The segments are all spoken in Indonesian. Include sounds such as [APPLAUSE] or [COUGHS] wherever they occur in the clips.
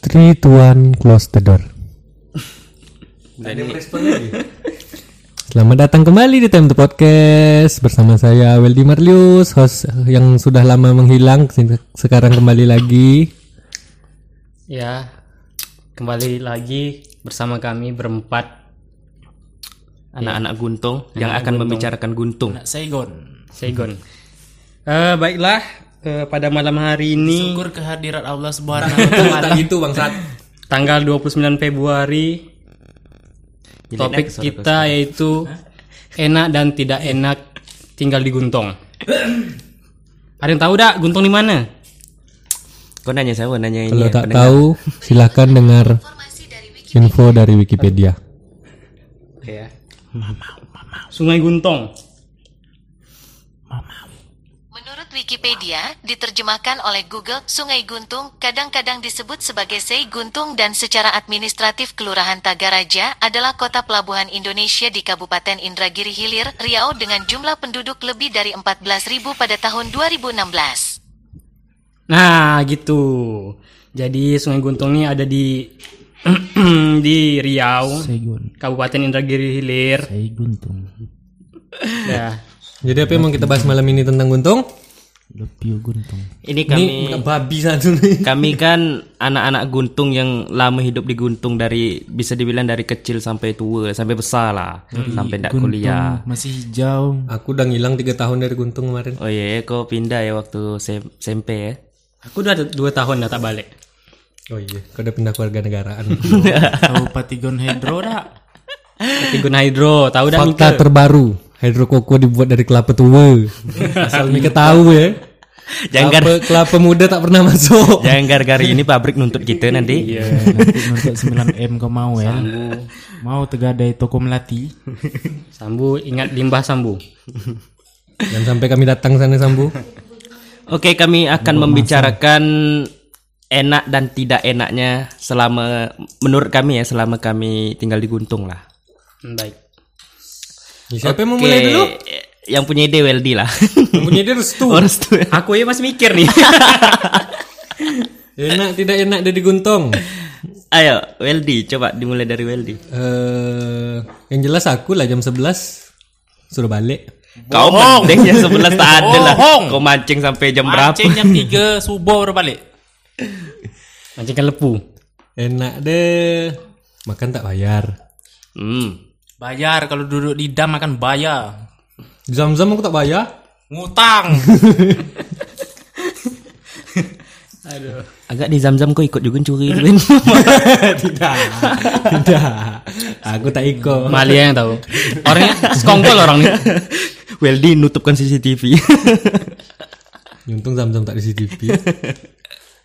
3, 2, 1, close the door Ada yang respon lagi. Selamat datang kembali di Time to Podcast Bersama saya Weldy Marlius Host yang sudah lama menghilang se- Sekarang kembali lagi Ya, kembali lagi bersama kami berempat Anak-anak guntung yang akan membicarakan guntung. Anak Saigon. Saigon. Eh, baiklah, eh, pada malam hari ini gitu, Syukur kehadirat Allah [LAUGHS] Subhanahu wa taala. Itu Bang Sat tanggal 29 Februari topik kita yaitu enak dan tidak enak tinggal di Guntong. [CLEARS THROAT] Ada yang tahu dak Guntong di mana? Kau nanya saya, kau nanya ini. Kalau ya, tak pendengar. tahu silahkan dengar info dari Wikipedia Ya. Sungai Guntong. Menurut Wikipedia, diterjemahkan oleh Google, Sungai Guntung kadang-kadang disebut sebagai Sei Guntung dan secara administratif Kelurahan Tagaraja adalah kota pelabuhan Indonesia di Kabupaten Indragiri Hilir, Riau dengan jumlah penduduk lebih dari 14.000 pada tahun 2016. Nah, gitu. Jadi Sungai Guntong ini ada di [CLEARS THROAT] di Riau, Saigon. Kabupaten Indragiri Hilir. Saigon tuh. Nah, Ya. Jadi apa yang mau kita bahas malam ini tentang Guntung? Lebih guntung. Ini kami babi satu nih kami kan anak-anak guntung yang lama hidup di guntung dari bisa dibilang dari kecil sampai tua, sampai besar lah, sampai tidak kuliah. Masih hijau. Aku udah ngilang 3 tahun dari Guntung kemarin Oh iya, kau pindah ya waktu sem- SMP ya. Aku udah ada dua tahun dah tak balik. Oh iya, kau udah pindah keluarga negaraan [LAUGHS] Tahu Patigon Hydro dak? Tigun Hydro, tahu dah Mika? Fakta terbaru Hydro Koko dibuat dari kelapa tua Asal Mika tahu ya Jangan kelapa, kelapa muda tak pernah masuk jangan gara-gara ini pabrik nuntut kita nanti. Iya. Nanti Iya. nuntut 9M kau mau ya. Mau tegadai toko melati. Sambu ingat limbah sambu. Dan sampai kami datang sana Sambu Oke, kami akan membicarakan enak dan tidak enaknya selama menurut kami ya selama kami tinggal di Guntung lah. Hmm, Baik. Ya, Siapa yang mau Oke, mulai dulu? Yang punya ide Weldy lah. Yang punya dia restu Orang tu. Aku ya masih mikir nih. Enak tidak enak dari Guntung [LAUGHS] Ayo, Weldy, coba dimulai dari Weldy. Eh, Yang jelas aku lah jam 11 Suruh balik Kau mending yang sebelas tak ada lah. Bohong. Kau mancing sampai jam berapa? Mancing jam 3 subuh baru balik. Mancingkan lepu. Enak deh Makan tak bayar Hmm. Bayar kalau duduk di dam akan bayar. Zam-zam aku tak [LAUGHS] bayar Ngutang. Agak di zam-zam kau ikut juga curi tu kan? Tidak Tidak Aku tak ikut Malia yang tahu. [LAUGHS] Orangnya sekongkol orang nih. Weldy nutupkan CCTV. Untung zam-zam tak di CCTV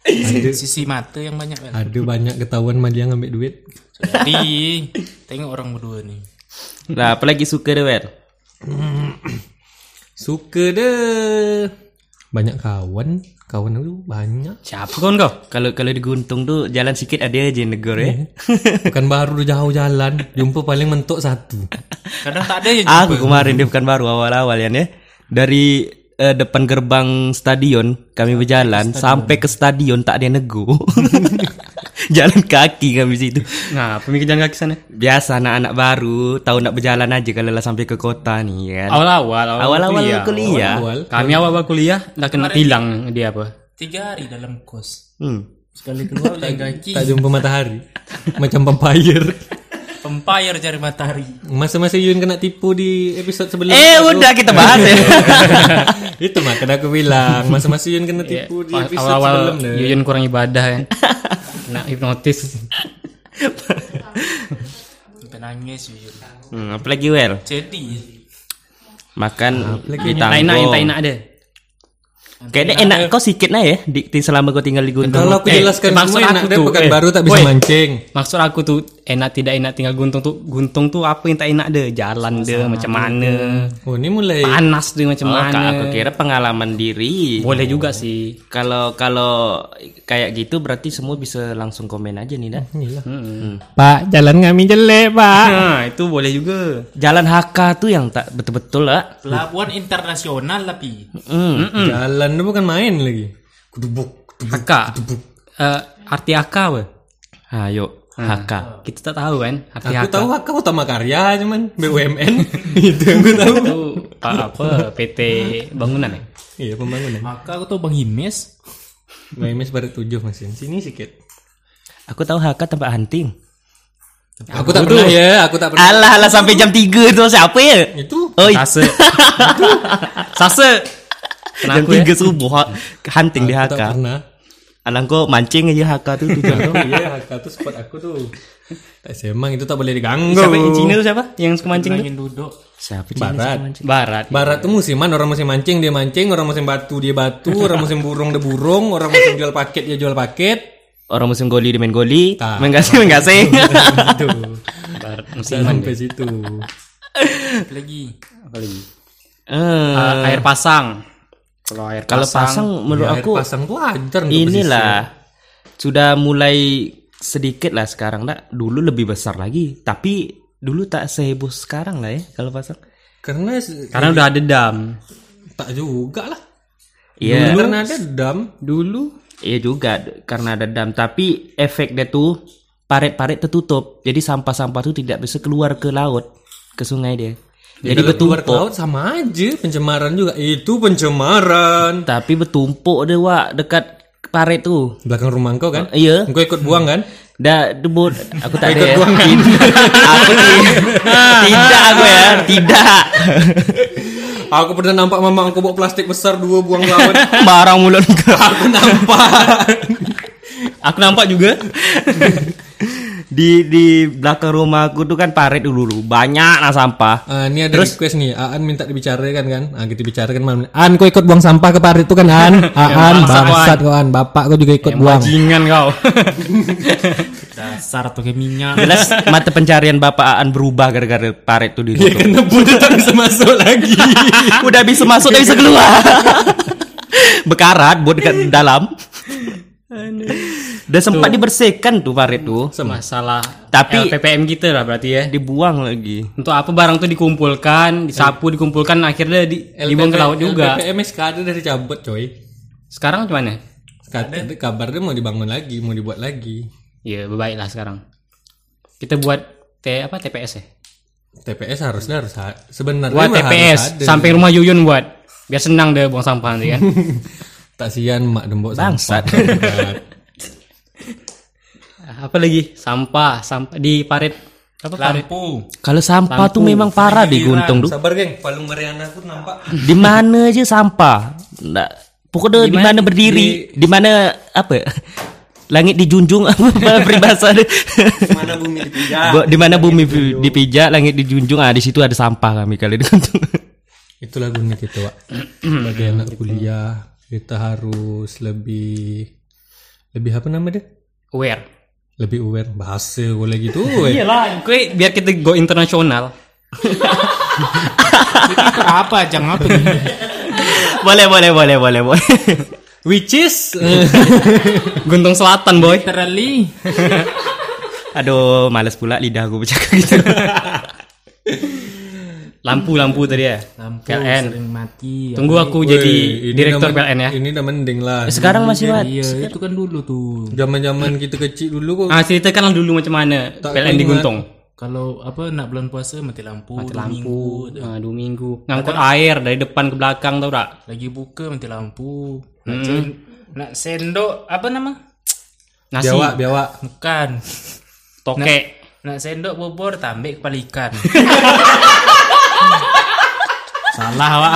Eh, Sisi mata yang banyak kan. Ada banyak ketahuan Malia ngambil duit Jadi tengok orang berdua nih. lah, apa lagi suka dia Wel? Suka deh Banyak kawan Kawan aku banyak Siapa kawan kau? Kalau kalau di Guntung tu jalan sikit ada aja yang negor ya. [LAUGHS] Bukan baru udah jauh jalan Jumpa paling mentok satu Kadang tak ada ya Aku kemarin dia bukan baru awal-awal ya. Nek. Dari eh, depan gerbang stadion kami berjalan sampai ke stadion tak ada yang negur. [LAUGHS] jalan kaki kami situ. Nah, pemikiran kaki sana. Biasa anak-anak baru tahu nak berjalan aja kalau lah sampai ke kota nih kan. Awal-awal, Awal-awal kuliah. Awal Kami awal-awal kuliah dah kena tilang dia apa? Tiga hari dalam kos. Hmm. Sekali keluar jalan kaki. Tak jumpa matahari Macam vampire Vampire cari matahari. Masa-masa Yun kena tipu di episode sebelum Eh udah kita [LAUGHS] bahas ya. [LAUGHS] Itu makanya aku bilang Masa-masa Yun kena tipu di Eh, Pas- episode sebelum Awal-awal deh. Yuyun kurang ibadah [LAUGHS] ya. Nah, hipnotis. Sampai nangis Yuyun. hmm, apalagi Wel. Jadi Makan Tak enak yang tak ditanggung. enak deh. Kayaknya enak kau sikit nah ya di, di selama kau tinggal di Guntung. Kalau aku Eh, jelaskan maksud semua enak aku deh tuh, Pekan eh, baru tak bisa woi. mancing Maksud aku tuh enak tidak enak tinggal guntung tuh guntung tuh apa yang tak enak deh jalan deh macam mana Oh ini mulai panas deh macam Oh, mana Kak, aku kira pengalaman diri. boleh juga sih Kalau kalau kayak gitu berarti semua bisa langsung komen aja nih dah. lah. Pak jalan kami jelek pak nah itu boleh juga Jalan HK tuh yang tak betul-betul lah. pelabuhan internasional tapi Mm. Jalan itu bukan main lagi haka Eh, arti haka apa Ayo, HK. Kita tak tahu kan arti Aku haka. tahu HK utama karya cuman BUMN [LAUGHS] itu yang gue tahu. Itu pa- apa PT bangunan ya? Iya pembangunan. Maka aku tahu Bang Himes. BUMN baru tujuh masih. Sini sikit. Aku tahu HK tempat hunting. Aku tak pernah ya, aku tak pernah. Alah, alah sampai jam 3 itu siapa ya? Itu Oi, Sase. [LAUGHS] Sase. jam Kenapa ya? 3 subuh ha- hunting di aku tak HK. [LAUGHS] pernah. Anak kok mancing aja HK tuh tujuan. [LAUGHS] Tahu iya HK tuh spot aku tuh. Tak semang itu tak boleh diganggu. Siapa yang Cina tuh siapa? Yang suka mancing tuh? Bilangin duduk. Siapa Cina? Barat. Barat. Barat tuh musiman, orang musim mancing dia mancing, orang musim batu dia batu, [LAUGHS] orang musim burung dia burung, orang musim jual paket dia jual paket. Orang musim goli dia main goli, Tak. Iya. main gasing main [LAUGHS] gasing. [LAUGHS] Itu. Barat ya? musiman. Gitu. Sampai situ. Lagi. Eh, Ah, air pasang. Kalau air Kalau pasang menurut Ya, air aku pasang tuh wajar untuk inilah sudah mulai sedikit lah sekarang nak dulu lebih besar lagi tapi dulu tak seheboh sekarang lah ya kalau pasang pesisir. Karena se- Karena udah ada dam. tak juga lah. iya Dulu Karena ada dam. Dulu iya juga d- karena ada dam tapi efek dia tuh parit-parit tertutup jadi sampah-sampah tuh tidak bisa keluar ke laut ke sungai dia jadi Kalau keluar ke bertumpuk laut sama aja pencemaran juga. Itu pencemaran. tapi bertumpuk dia wak dekat parit tuh Belakang rumah kau kan? Ah, iya Gue ikut buang kan? Dah debut aku tak ada. Ikut ya. buang kan? aku ti- tidak aku ya, tidak. Aku pernah nampak mama aku bawa plastik besar dua buang laut. [LAUGHS] Barang mulut aku aku nampak juga. di di belakang rumah aku tuh kan parit dulu dulu banyak lah sampah. Ah, ini ada request nih, Aan minta dibicarakan kan? Ah, kita bicarakan malam ini. Aan, kau ikut buang sampah ke parit itu kan Aan? [LAUGHS] Aan, bangsat kau Aan, bapak kau juga ikut buang. Jingan kau. Dasar tuh kayak minyak. Jelas mata pencarian Bapak Aan berubah gara-gara parit tuh ditutup. [LAUGHS] Karena budak tak bisa masuk lagi. Udah bisa masuk tapi bisa keluar. Bekarat buat dekat dalam. Udah sempat dibersihkan tuh parit tuh. Masalah Tapi- LPPM gitu lah berarti ya. Dibuang lagi. Untuk apa barang tuh dikumpulkan, disapu, dikumpulkan akhirnya di, [LAUGHS] dibuang ke laut juga. LPPMS kada dari cabut coy. Sekarang gimana? Kata kabar dia mau dibangun lagi, mau dibuat lagi. Ya, baiklah sekarang. Kita buat T apa TPS ya? TPS harusnya harus ha- sebenarnya Buat mah TPS harus ada. samping rumah Yuyun buat. Biar senang deh buang sampah [LAUGHS] nanti kan. tak sian mak dembok Bangsat. [LAUGHS] sampah. apa lagi? Sampah, sampah di parit apa parit? Lampu. Kalau sampah tuh memang parah di Guntung tuh. Sabar geng, Palung Mariana aku nampak di mana aja sampah Nggak. pokoknya di mana berdiri di mana apa [LAUGHS] ya? langit dijunjung [LAUGHS] apa peribahasa ada? mana bumi dipijak. Bo- di mana bumi dipijak langit dijunjung ah di situ ada sampah kami kali di kantung. Itulah guna kita, gitu, Wak. [CLEARS THROAT] Sebagai anak kuliah, kita harus lebih lebih apa nama dia? Aware. Lebih aware bahasa gue lagi [LAUGHS] tuh. Iya, weh. Ya Iyalah, kue biar kita go [LAUGHS] internasional. Itu apa? Jangan [LAUGHS] apa nih? [LAUGHS] boleh boleh boleh boleh boleh [LAUGHS] Which is eh, Guntung Selatan, boy. Oh, Literally. aduh males pula lidah gue bercakap [LAUGHS] gitu Lampu-lampu tadi ya. Lampu PLN. sering mati. Tunggu aku Weh, jadi ini direktur udah men- PLN ya. Ini udah mending lah. Eh, sekarang masih Iya, mat iya, itu kan dulu tuh. Zaman-zaman kita kecil dulu kok Ah, ceritakanlah dulu macam mana Tak PLN di ingat. Guntung. Kalau apa nak bulan puasa mati lampu, Mati dua lampu, minggu. ah, dua minggu. Ngangkut air dari depan ke belakang tau tak? lagi buka mati lampu. Nak, sen- nak sendok apa nama? Nasi, biawak biawak. Bukan. tokek. [LAUGHS] Nak sendok bobor tambik kepala [LAUGHS] ikan. Salah wak.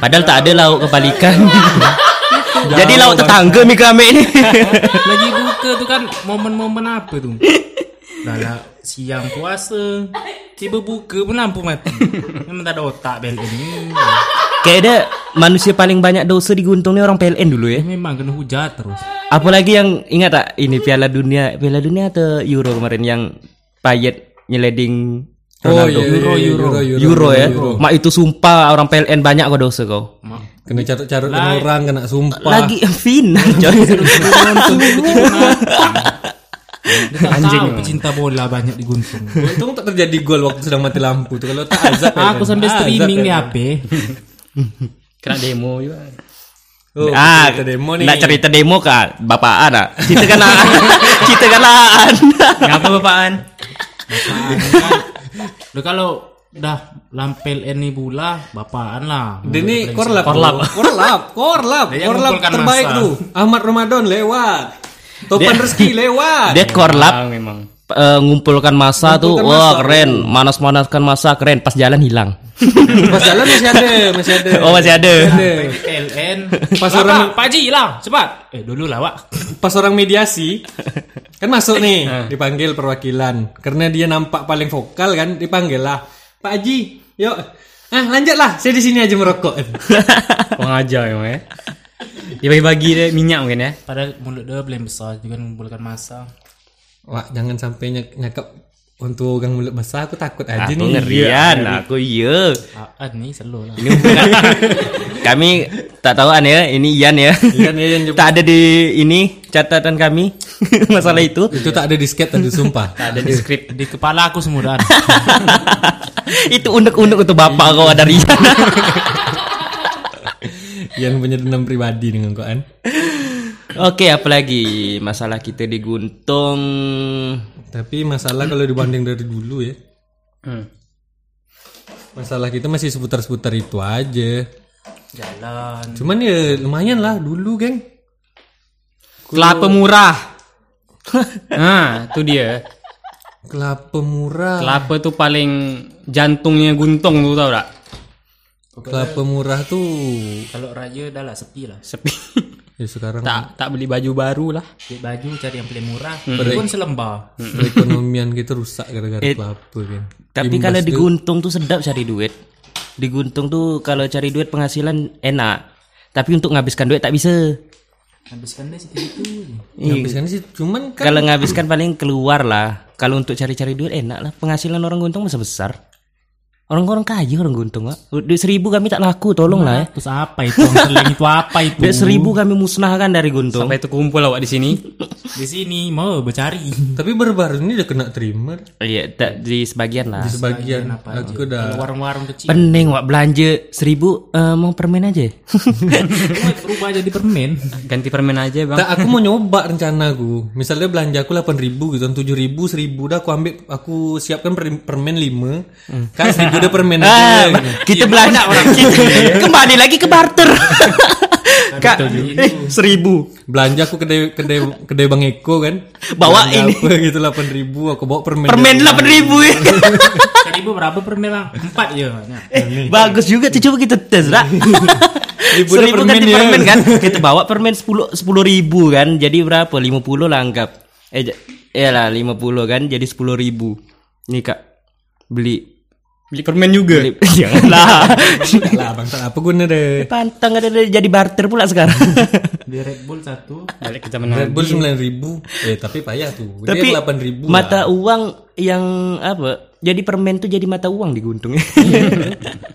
padahal tak ada lauk [LAUGHS] kebalikan [LAUGHS] jadi lauk tetangga mi kami [LAUGHS] ini lagi buka tuh kan momen-momen apa [LAUGHS] tuh? Dah lah siang puasa. Tiba buka pun lampu [LAUGHS] mati. Memang tak ada otak bel ini. kayaknya manusia paling banyak dosa di Guntung ni orang PLN dulu ya Memang kena hujat terus. Apalagi yang ingat tak ini Piala Dunia, Piala Dunia atau Euro kemarin yang Payet nyeleding Ronaldo. Euro, Euro, Euro, Oh, Euro, ya. Mak itu sumpah orang PLN banyak kau dosa kau. Kena carut-carut dengan orang, kena sumpah. Lagi final coy. Dia tak Anjing tahu pecinta bola banyak diguntung. [LAUGHS] Untung tak terjadi gol waktu sedang mati lampu tuh. Kalau tak azab. ya, Ah, Aku kan? sampai Azab, streaming ya, di kan? HP. Kena demo juga. Oh, ah, cerita demo nih. nak cerita demo kak, bapaan ah. Cerita kan ah. cerita kan ah. Ngapa bapaan? Udah kalau dah lampel ini pula bapaan lah. Dia ini korlap. Korlap. tuh. Korlap. Korlap. Dia yang Korlap mengumpulkan terbaik massa. tuh. Ahmad Ramadan lewat. Topan Rezeki lewat. Dia korlap Bang Ah, memang. eh, ngumpulkan masa tuh, Ngumpulkan wah massa. keren, manas-manaskan masa keren. Pas jalan hilang. Pas jalan masih ada, masih ada. [LAUGHS] oh masih ada. LN. Pas Pas orang- orang Pak Haji hilang, cepat. Eh dulu lah, Wak. [LAUGHS] Pas orang [LAUGHS] mediasi kan masuk Ah. nih, dipanggil perwakilan. Karena dia nampak paling vokal kan, dipanggil lah. Pak Haji, yuk. Ah, lanjutlah. Saya di sini aja merokok. [LAUGHS] Uang aja memang ya. Dibagi-bagi deh minyak mungkin ya. Padahal mulut dia belum besar juga mengumpulkan masa. Wah, jangan sampai nyak- nyakap untuk orang mulut besar aku takut aja Aku nih. ya. ngerian, aku iya. Apaan nih selo lah. Ini bukan. kami tak tahuan ya, ini Ian ya. Ian, [LAUGHS] Ian, Jep. tak ada di ini catatan kami [LAUGHS] masalah itu. Itu tak ada di skate tadi sumpah. [LAUGHS] Tak ada di skrip. Di kepala aku semua dah. [LAUGHS] itu unek-unek untuk bapak kau dari Ian. [LAUGHS] Yang punya dendam pribadi dengan kau kan. Oke, apalagi masalah kita di Guntung. Tapi masalah kalau dibanding dari dulu ya. Hmm. Masalah kita masih seputar-seputar itu aja. Jalan. Cuman ya lumayan lah dulu, geng. Kelapa [LAUGHS] murah. nah, itu dia. Kelapa murah. Kelapa tuh paling jantungnya guntung tuh tau tak? Kelapa murah tuh Kalau raya dah lah sepi lah. Sepi. ya sekarang tak tak beli baju baru lah. Beli baju cari yang paling murah. Itu pun selembar. Hmm. perekonomian kita rusak gara-gara kelapa, geng. Tapi Imbas kalau di tuh- Guntung tuh sedap cari duit. Di Guntung tuh kalau cari duit penghasilan enak. Tapi untuk ngabiskan duit tak bisa. Habiskan deh situ itu. Habiskan sih cuman kan Kalau ngabiskan paling keluar lah. Kalau untuk cari-cari duit enak lah. Penghasilan orang Guntung besar besar. Orang-orang kaya orang Guntung, Pak. Duit seribu kami tak laku, tolong lah ya. Nah, Terus apa itu? Yang seling itu apa itu? Duit seribu kami musnahkan dari Guntung. Sampai itu kumpul awak di sini. Di sini mau bercari. tapi baru-baru ini udah kena terima Iya, tak- di sebagian lah. di sebagian aku Kalau udah warung-warung kecil Pening, Wak. Belanja seribu, eh, mau permen [LAUGHS] aja. Wah, berubah jadi permen. Ganti permen aja bang. tak aku mau nyoba rencana aku misalnya belanja aku 8000 gitu 7000 1000 dah aku ambil aku siapkan per- permen 5 kan 1000 dah permen Ah, aja gitu. kita belanja kita- [LAUGHS] kembali lagi ke barter kak eh, seribu belanja aku kedai kedai kedai Bang Eko kan Bawa Belanja ini. apa gitu 8000 aku bawa permen permen delapan ribu ya. [LAUGHS] Seribu berapa permen bang? Empat ya. Nah. Iya, bagus juga tuh coba kita tes [LAUGHS] lah Seribu dah seribu permen ganti ya. permen kan kita bawa permen sepuluh sepuluh ribu kan jadi berapa lima puluh lah anggap eh j- ya lah lima puluh kan jadi sepuluh ribu nih kak beli Beli permen juga. beli [LAUGHS] janganlah Tak lah bang tak apa guna deh pantang ada ada jadi barter pula [LAUGHS] sekarang Di Red Bull satu. Balik kita Red menang. Bull 9000 eh tapi payah tuh Dia 8000 lah. mata uang yang apa jadi permen tuh jadi mata uang [LAUGHS] diguntung Udah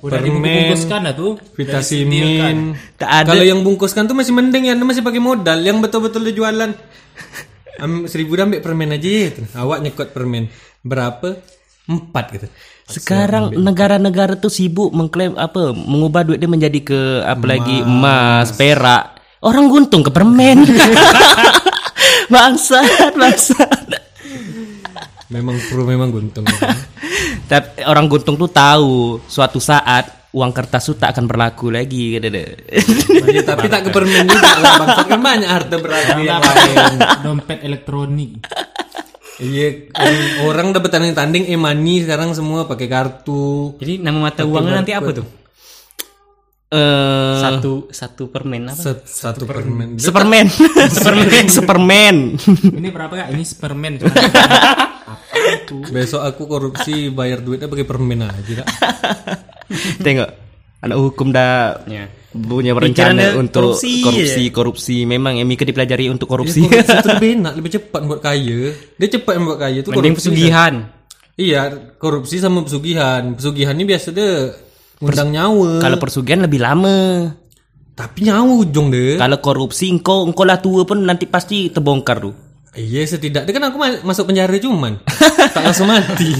Permen. dibungkuskan dah tuh. Vitamin. Tak ada. Kalau yang bungkuskan tuh masih mending ya, anda masih pakai modal. Yang betul-betul dia jualan. Am, seribu dah ambil permen aja ya. Awak nyekot permen. Berapa? Empat gitu. sekarang negara-negara tuh sibuk mengklaim apa mengubah duit dia menjadi ke apalagi emas perak orang guntung ke permen bangsat bangsat Memang pro memang guntung. tapi orang guntung tuh tahu suatu saat uang kertas tuh tak akan berlaku lagi gitu deh Ya, tapi tak ke permen juga lah. Bangsa kan banyak harta berarti yang lain. Dompet elektronik. Iya, em, orang udah bertanding-tanding e-money sekarang semua pakai kartu. Jadi nama mata uangnya nanti apa tuh? Eh, Satu satu permen apa? Set- satu permen. [LAUGHS] Superman Superman Superman [LAUGHS] Ini berapa kak? Ini permen. Besok aku korupsi bayar duitnya pakai permen aja. dah. tengok anak hukum dah Ya. punya rencana Pikirannya untuk korupsi, korupsi korupsi, memang Emika dipelajari untuk Iya. korupsi Ya, Korupsi itu lebih enak, lebih cepat buat kaya. Dia cepat yang buat kaya itu Mending pesugihan. Iya, korupsi sama pesugihan. Pesugihan ini biasa deh ngundang nyawa. Eh. kalau persugihan lebih lama Tapi nyawa ujung deh. Eh. kalau korupsi engkau engkau lah tua pun nanti pasti terbongkar [LAUGHS] tuh Iya, setidaknya kan aku ma- masuk penjara cuman tak langsung mati.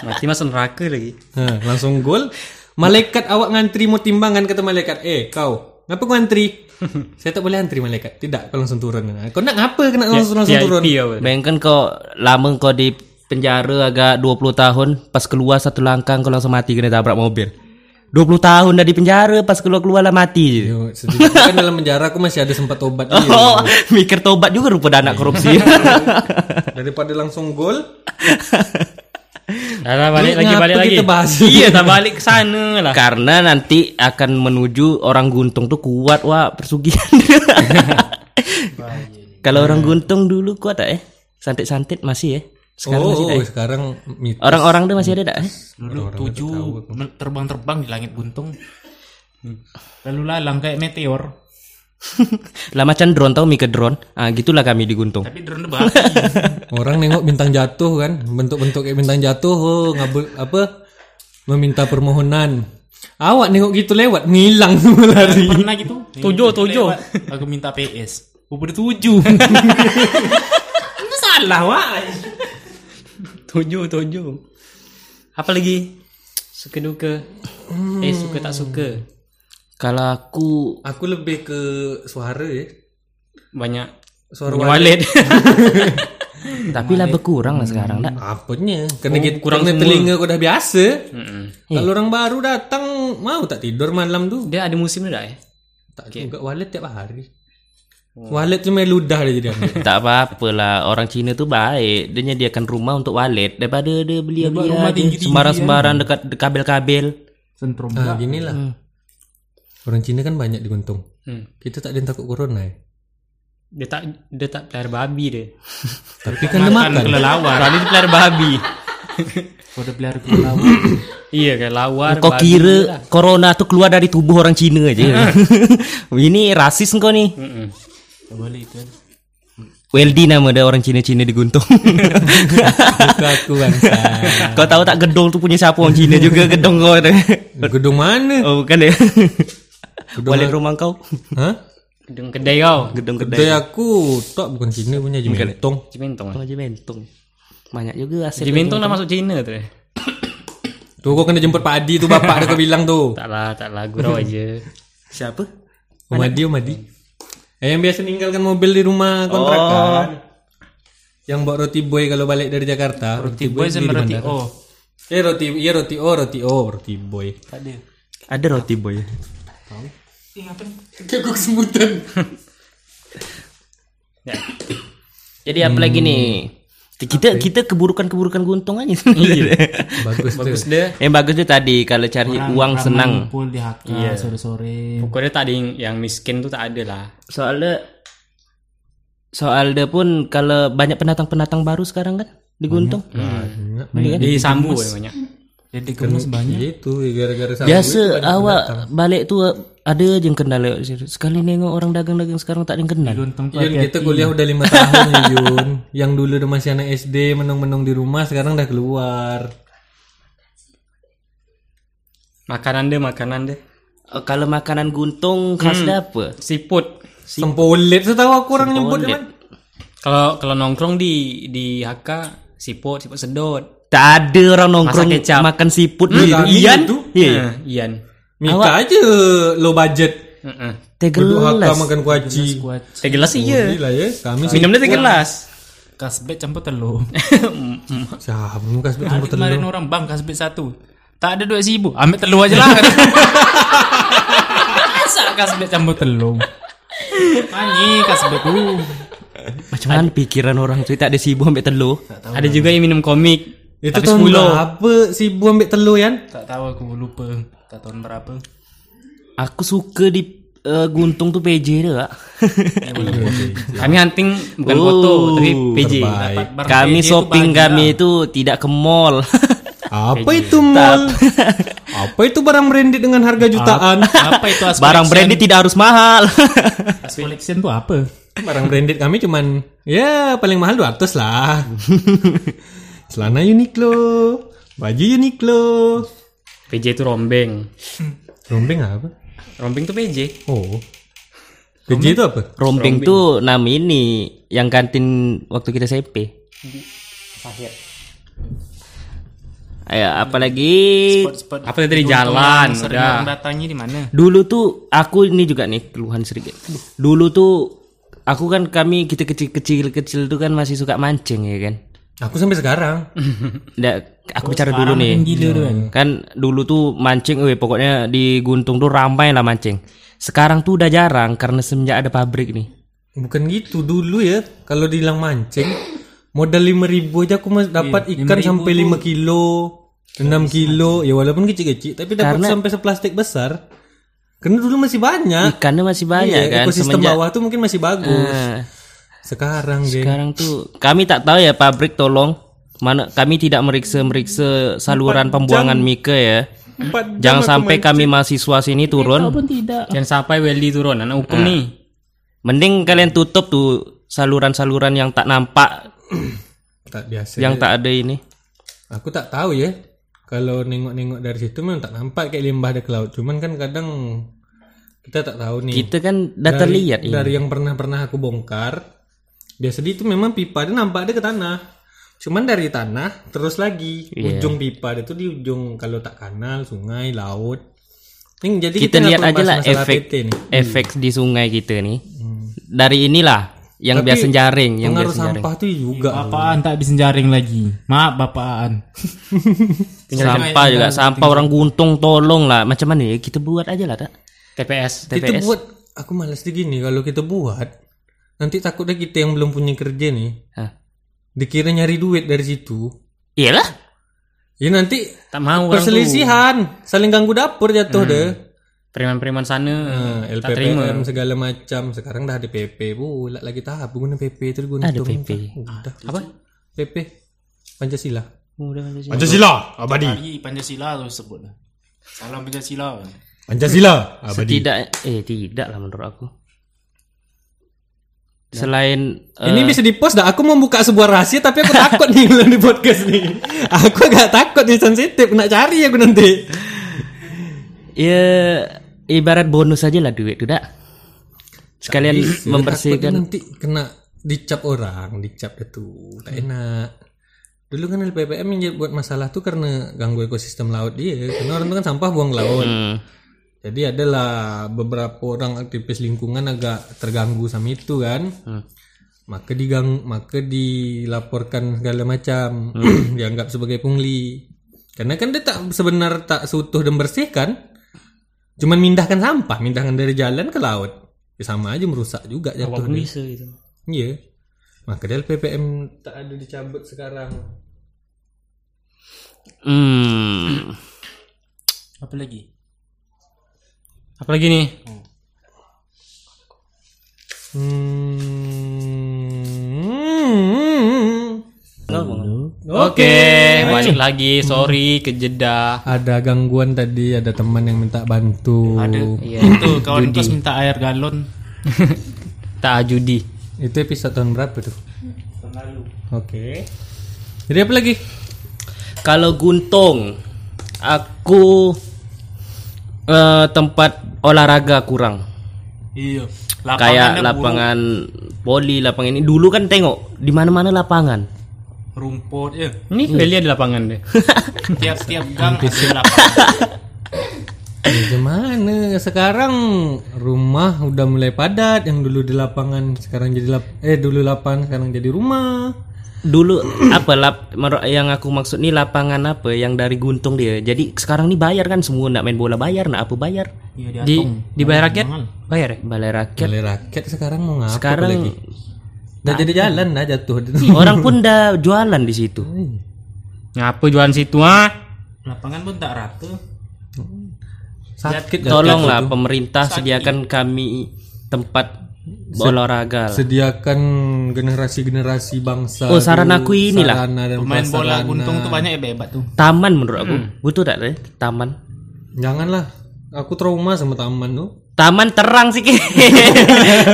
Mati masuk neraka lagi. Nah, Hah, langsung gol. Malaikat awak ngantri mau timbangan kata malaikat, "Eh, kau ngapa kau [LAUGHS] antri? Saya tak boleh antri malaikat. Tidak, kau langsung turun. Nah, Kau nak ngapa kena langsung, langsung turun? VIP ya, Bang. Bayangkan kau lama kau di penjara agak 20 tahun, pas keluar satu langkah kau langsung mati kena tabrak mobil. 20 tahun dah di penjara, pas keluar-keluar lah mati [LAUGHS] je. Yo, Sejujurnya kan dalam penjara aku masih ada sempat tobat dia. Oh, [LAUGHS] mikir tobat juga rupa dah anak korupsi. Daripada langsung gol, Dah, dah, [LAUGHS] balik lagi, Ngapa balik lagi. kita bahas? Iya, [LAUGHS] tak balik ke sana lah. Karena nanti akan menuju orang guntung tuh kuat wah persugihan. [LAUGHS] Kalau Ya. orang guntung dulu kuat tak eh? Santet-santet masih ya? Sekarang oh, masih tak eh? oh, sekarang mit- Orang-orang tuh masih ada tak eh? Dulu tujuh men- terbang-terbang di langit buntung. Lalu lalang kayak meteor. lah macam drone tau mikir drone. Ah gitulah kami di guntung. Tapi drone debak. orang nengok bintang jatuh kan, bentuk-bentuk kayak bintang jatuh, oh, ngabul apa? Meminta permohonan. Awak nengok gitu lewat, ngilang semua lari. Pernah gitu? Tujuh, tujuh. Lewat, Aku minta PS. Umur tujuh. Itu salah [LAUGHS] wah. Tujuh, tujuh. Apa lagi? Suka duka. Hmm. Eh, suka tak suka. Kalau aku Aku lebih ke suara ya. Banyak. Suara Punya Walid. tapi lah berkurang lah sekarang tak. Apanya? Eh. Karena kita kurang Oh, telinga kau dah biasa. Kalau orang baru datang mau tak tidur malam tu. Dia ada musim dah eh. Tak juga wallet tiap hari. Oh. Wallet cuma ludah dia jadi Hmm. ambil. Tak apa-apa lah orang Cina tuh baik. Dia nyediakan rumah untuk walet daripada dia beli beli rumah aja tinggi-tinggi ya. sembarang-sembarang dekat dekat kabel-kabel. Sentrum. Nah, ginilah. [LAUGHS] Orang Cina kan banyak diuntung. Hmm. Kita tak ada yang takut corona ya. Dia tak dia tak pelihara babi dia. Tapi kan dia makan. kelelawar. Kalau dia pelihara babi. Kau udah pelihara kelelawar. iya kan lawar. Kau babi kira Ah. lah. corona tuh keluar dari tubuh orang Cina [LAUGHS] aja. Ini rasis kau nih. Mm-mm. Tak boleh itu. kan. Weldy nama ada orang Cina-Cina di Guntung. Buka aku bangsa. [LAUGHS] kau tahu tak gedung tuh punya siapa orang Cina juga gedung kau. [LAUGHS] tu. Gedung mana? Oh bukan ya. Walet rumah kau. Hah? Gedung kedai kau. Gedung kedai. Kedai aku tak bukan Cina punya jemintong. Cimintong. Oh, aja bentong. Banyak juga aset. Cimintong dah masuk Cina tu. eh? Tu kau kena jemput Pak Adi tu bapak dia kau bilang tu. Tak lah, tak lah [LAUGHS] gurau aja. Siapa? Umadi Umadi. Eh yang biasa ninggalkan mobil di rumah kontrakan. Yang bawa roti boy kalau balik dari Jakarta. Roti, Boy sama beli di roti bandar. oh. Eh roti, iya roti oh, roti oh, roti boy. Tak ada. Ada roti boy. Eh, apa ni? Kayak gue kesemutan. Jadi apa lagi nih? Kita kita keburukan-keburukan guntung aja. Bagus tuh. Terus dia [LAUGHS] Yang bagus tuh tadi kalau cari uang senang. Kumpul di Hakka sore-sore. pokoknya tak ada yang, yang miskin tu tak ada lah. Soalnya soalnya pun kalau banyak pendatang-pendatang baru sekarang kan di guntung. kan? Di sambu yang banyak. Jadi gemes banyak. Iya, Itu gara-gara sama Biasa awak balik tuh ada aja yang kendala sekali nengok orang dagang-dagang sekarang tak ada yang kenal. Guntung tu Yun kita kuliah udah lima tahun ya Yun. Yang dulu udah masih anak SD menung-menung di rumah sekarang dah keluar. Makanan dia, makanan dia. Eh, Kalau makanan guntung khas dia apa? Siput. Sempolet tuh tahu aku orang nyebut kan Sempolet. cuman. Kalau kalau nongkrong di di Haka, siput, siput sedot. Tak ada orang nongkrong Masak kecap. makan siput Hmm, gitu. tak ada Ian. gitu. Iya. Ha, Nah, Ian. Mika aja low budget. Heeh. Teh Duduk haka gelas. makan kuaci. Teh gelas iya. Gila ya. Ah. Kami sih. Minumnya teh gelas. Kasbet campur telur. Siapa muka sebut campur telur. Kemarin orang bang kasbet satu. Tak ada duit seibu. Ambil telur aja lah. [LAUGHS] Masa kasbet campur telur. Ani kasbet tu. Macam mana pikiran orang cuy tak ada sibuk ambil telur. Ada juga yang minum komik. Itu Tapi tahun 10. berapa si Bu ambil telur Yan? Tak tahu aku lupa. Tak tahun berapa. Aku suka di eh, guntung tuh PJ dia, Kak. Kami hunting bukan Uh, foto tapi PJ. [LAUGHS] Terbaik. Bar kami PJ tu shopping bahagia. kami itu tidak ke mall. [LAUGHS] Apa itu mal? [LAUGHS] Apa itu barang branded dengan harga jutaan? Apa itu as Barang branded tidak harus mahal. as collection tu apa? [LAUGHS] Barang branded kami cuman ya paling mahal 200 lah. Celana Uniqlo, baju Uniqlo. PJ itu rombeng. Rombeng apa? Rombeng tuh PJ. Oh. PJ itu apa? Rombeng tuh nama ini yang kantin waktu kita SMP. Ayo, Ya, apalagi Spot-spot Apa tadi guntung jalan, yang sering udah. orang datangnya Ah. di mana? dulu tuh aku ini juga nih keluhan sedikit. Dulu tuh aku kan kami kita kecil-kecil kecil tuh kan masih suka mancing ya kan. Aku sampai sekarang. Nggak, aku bicara dulu nih. Kan dulu tuh mancing, weh, pokoknya di Guntung tuh ramai lah mancing. Sekarang tuh udah jarang karena semenjak ada pabrik nih. Bukan gitu dulu ya. Kalau dibilang mancing, modal 5000 aja aku mas- dapat ikan sampai 5 kilo, 6 kilo. Ya walaupun kecil-kecil, tapi dapat sampai seplastik besar. Karena dulu masih banyak. Ikannya masih banyak Iya, kan ekosistem semenjak bawah tuh mungkin masih bagus. Eh, Sekarang, deh. sekarang tuh kami tak tahu ya pabrik tolong mana kami tidak meriksa-meriksa saluran pembuangan mika ya. Empat Jangan sampai kami mahasiswa sini turun. Hmm. Dan sampai Welly turun anak hukum Nah. nih. Mending kalian tutup tuh saluran-saluran yang tak nampak, tak biasa. yang tak ada ini. Aku tak tahu ya. Kalau nengok-nengok dari situ memang tak nampak kayak limbah ada ke laut. Cuman kan kadang kita tak tahu nih. Kita kan udah terlihat ini. Dari yang pernah-pernah aku bongkar, biasa dia itu memang pipa dia nampak ada ke tanah. Cuman dari tanah terus lagi Iya. ujung pipa dia tuh di ujung kalau tak kanal, sungai, laut. Ini jadi kita, nggak lihat perlu aja lah bahas masalah efek PT nih. efek di sungai kita nih Hmm. dari inilah yang biasa jaring yang Pengaruh biasa jaring sampah tuh juga. Bapaan tak bisa jaring lagi. Maaf bapaan. sampah juga sampah orang guntung tolong lah macam mana ya kita buat aja lah tak TPS. Kita buat aku malas di gini kalau kita buat nanti takutnya kita yang belum punya kerja nih Hah. dikira nyari duit dari situ. iyalah Ya nanti Tak mau orang tuh. perselisihan, saling ganggu dapur jatuh Hmm. deh. Preman-preman sana. Nah, tak terima. LPPM segala macam. Sekarang dah ada PP pula lagi tahap guna PP itu guna Ada PP. Udah. Apa? PP Pancasila. Pancasila abadi. Pancasila lu sebut. Salam Pancasila. Pancasila. setidak eh tidak lah menurut aku selain eh, Ini bisa di post dah. Aku mau buka sebuah rahasia tapi aku takut nih [LAUGHS] kalau di podcast nih. Aku agak takut nih sensitif. Nak cari aku nanti. ya ibarat bonus aja lah duit tuh dak sekalian [LAUGHS] Takutnya membersihkan nanti kena dicap orang, dicap itu Hmm. tak enak. Dulu kan LPPM yang jadi buat masalah tuh karena ganggu ekosistem laut dia. Karena orang tuh kan sampah buang ke laut. Jadi adalah beberapa orang aktivis lingkungan agak terganggu sama itu kan. Maka digang, maka dilaporkan segala macam, [CLEARS THROAT] dianggap sebagai pungli. Karena kan dia tak sebenar tak seutuh dan bersih kan. Cuman mindahkan sampah, mindahkan dari jalan ke laut. Ya sama aja merusak juga jatuh dia. bisa gitu Iya. Maka dia LPPM tak ada dicabut sekarang. hmm Apa lagi? Apalagi nih? Hmm. Oke, balik lagi. Sorry kejeda. Ada gangguan tadi, ada teman yang minta bantu. iya. Itu kawan kos minta air galon. Tak judi. Itu episode tahun berapa tuh? Tahun lalu. Oke. Jadi apa lagi? Kalau Guntung, aku eh, tempat olahraga kurang. Iya. Kayak Lapangannya lapangan poli, lapangan ini dulu kan tengok di mana-mana lapangan. buruk, rumput ya. Nih Welly ada lapangan deh. Tiap-tiap gang ada lapangan. Ya, gimana? Sekarang rumah udah mulai padat. Yang dulu di lapangan, sekarang jadi lap eh dulu lapangan, sekarang jadi rumah. Dulu apa lap mer- yang aku maksud nih lapangan apa yang dari Guntung dia. Jadi sekarang nih bayar kan semua nak main bola bayar, nak apa bayar? Iya dia. Di dibayar rakyat? Bayar ya? Balai rakyat. Balai rakyat sekarang mau ngapa eh? Sekarang lagi? Udah jadi jalan dah [LAUGHS] jatuh. orang pun dah jualan di situ. Ngapa jualan situ [LAUGHS] ah? Lapangan pun tak rata. Sakit jatuh. Tolonglah pemerintah sediakan kami tempat olahraga. lah. Sediakan generasi-generasi bangsa. Oh, saran dulu, aku inilah. Sarana dan Pemain bola prasarana. guntung tuh banyak ya bebat tuh. Taman menurut aku. Hmm. Butuh tak deh taman? Janganlah. Aku trauma sama taman tuh. Taman terang sikit. [LAUGHS]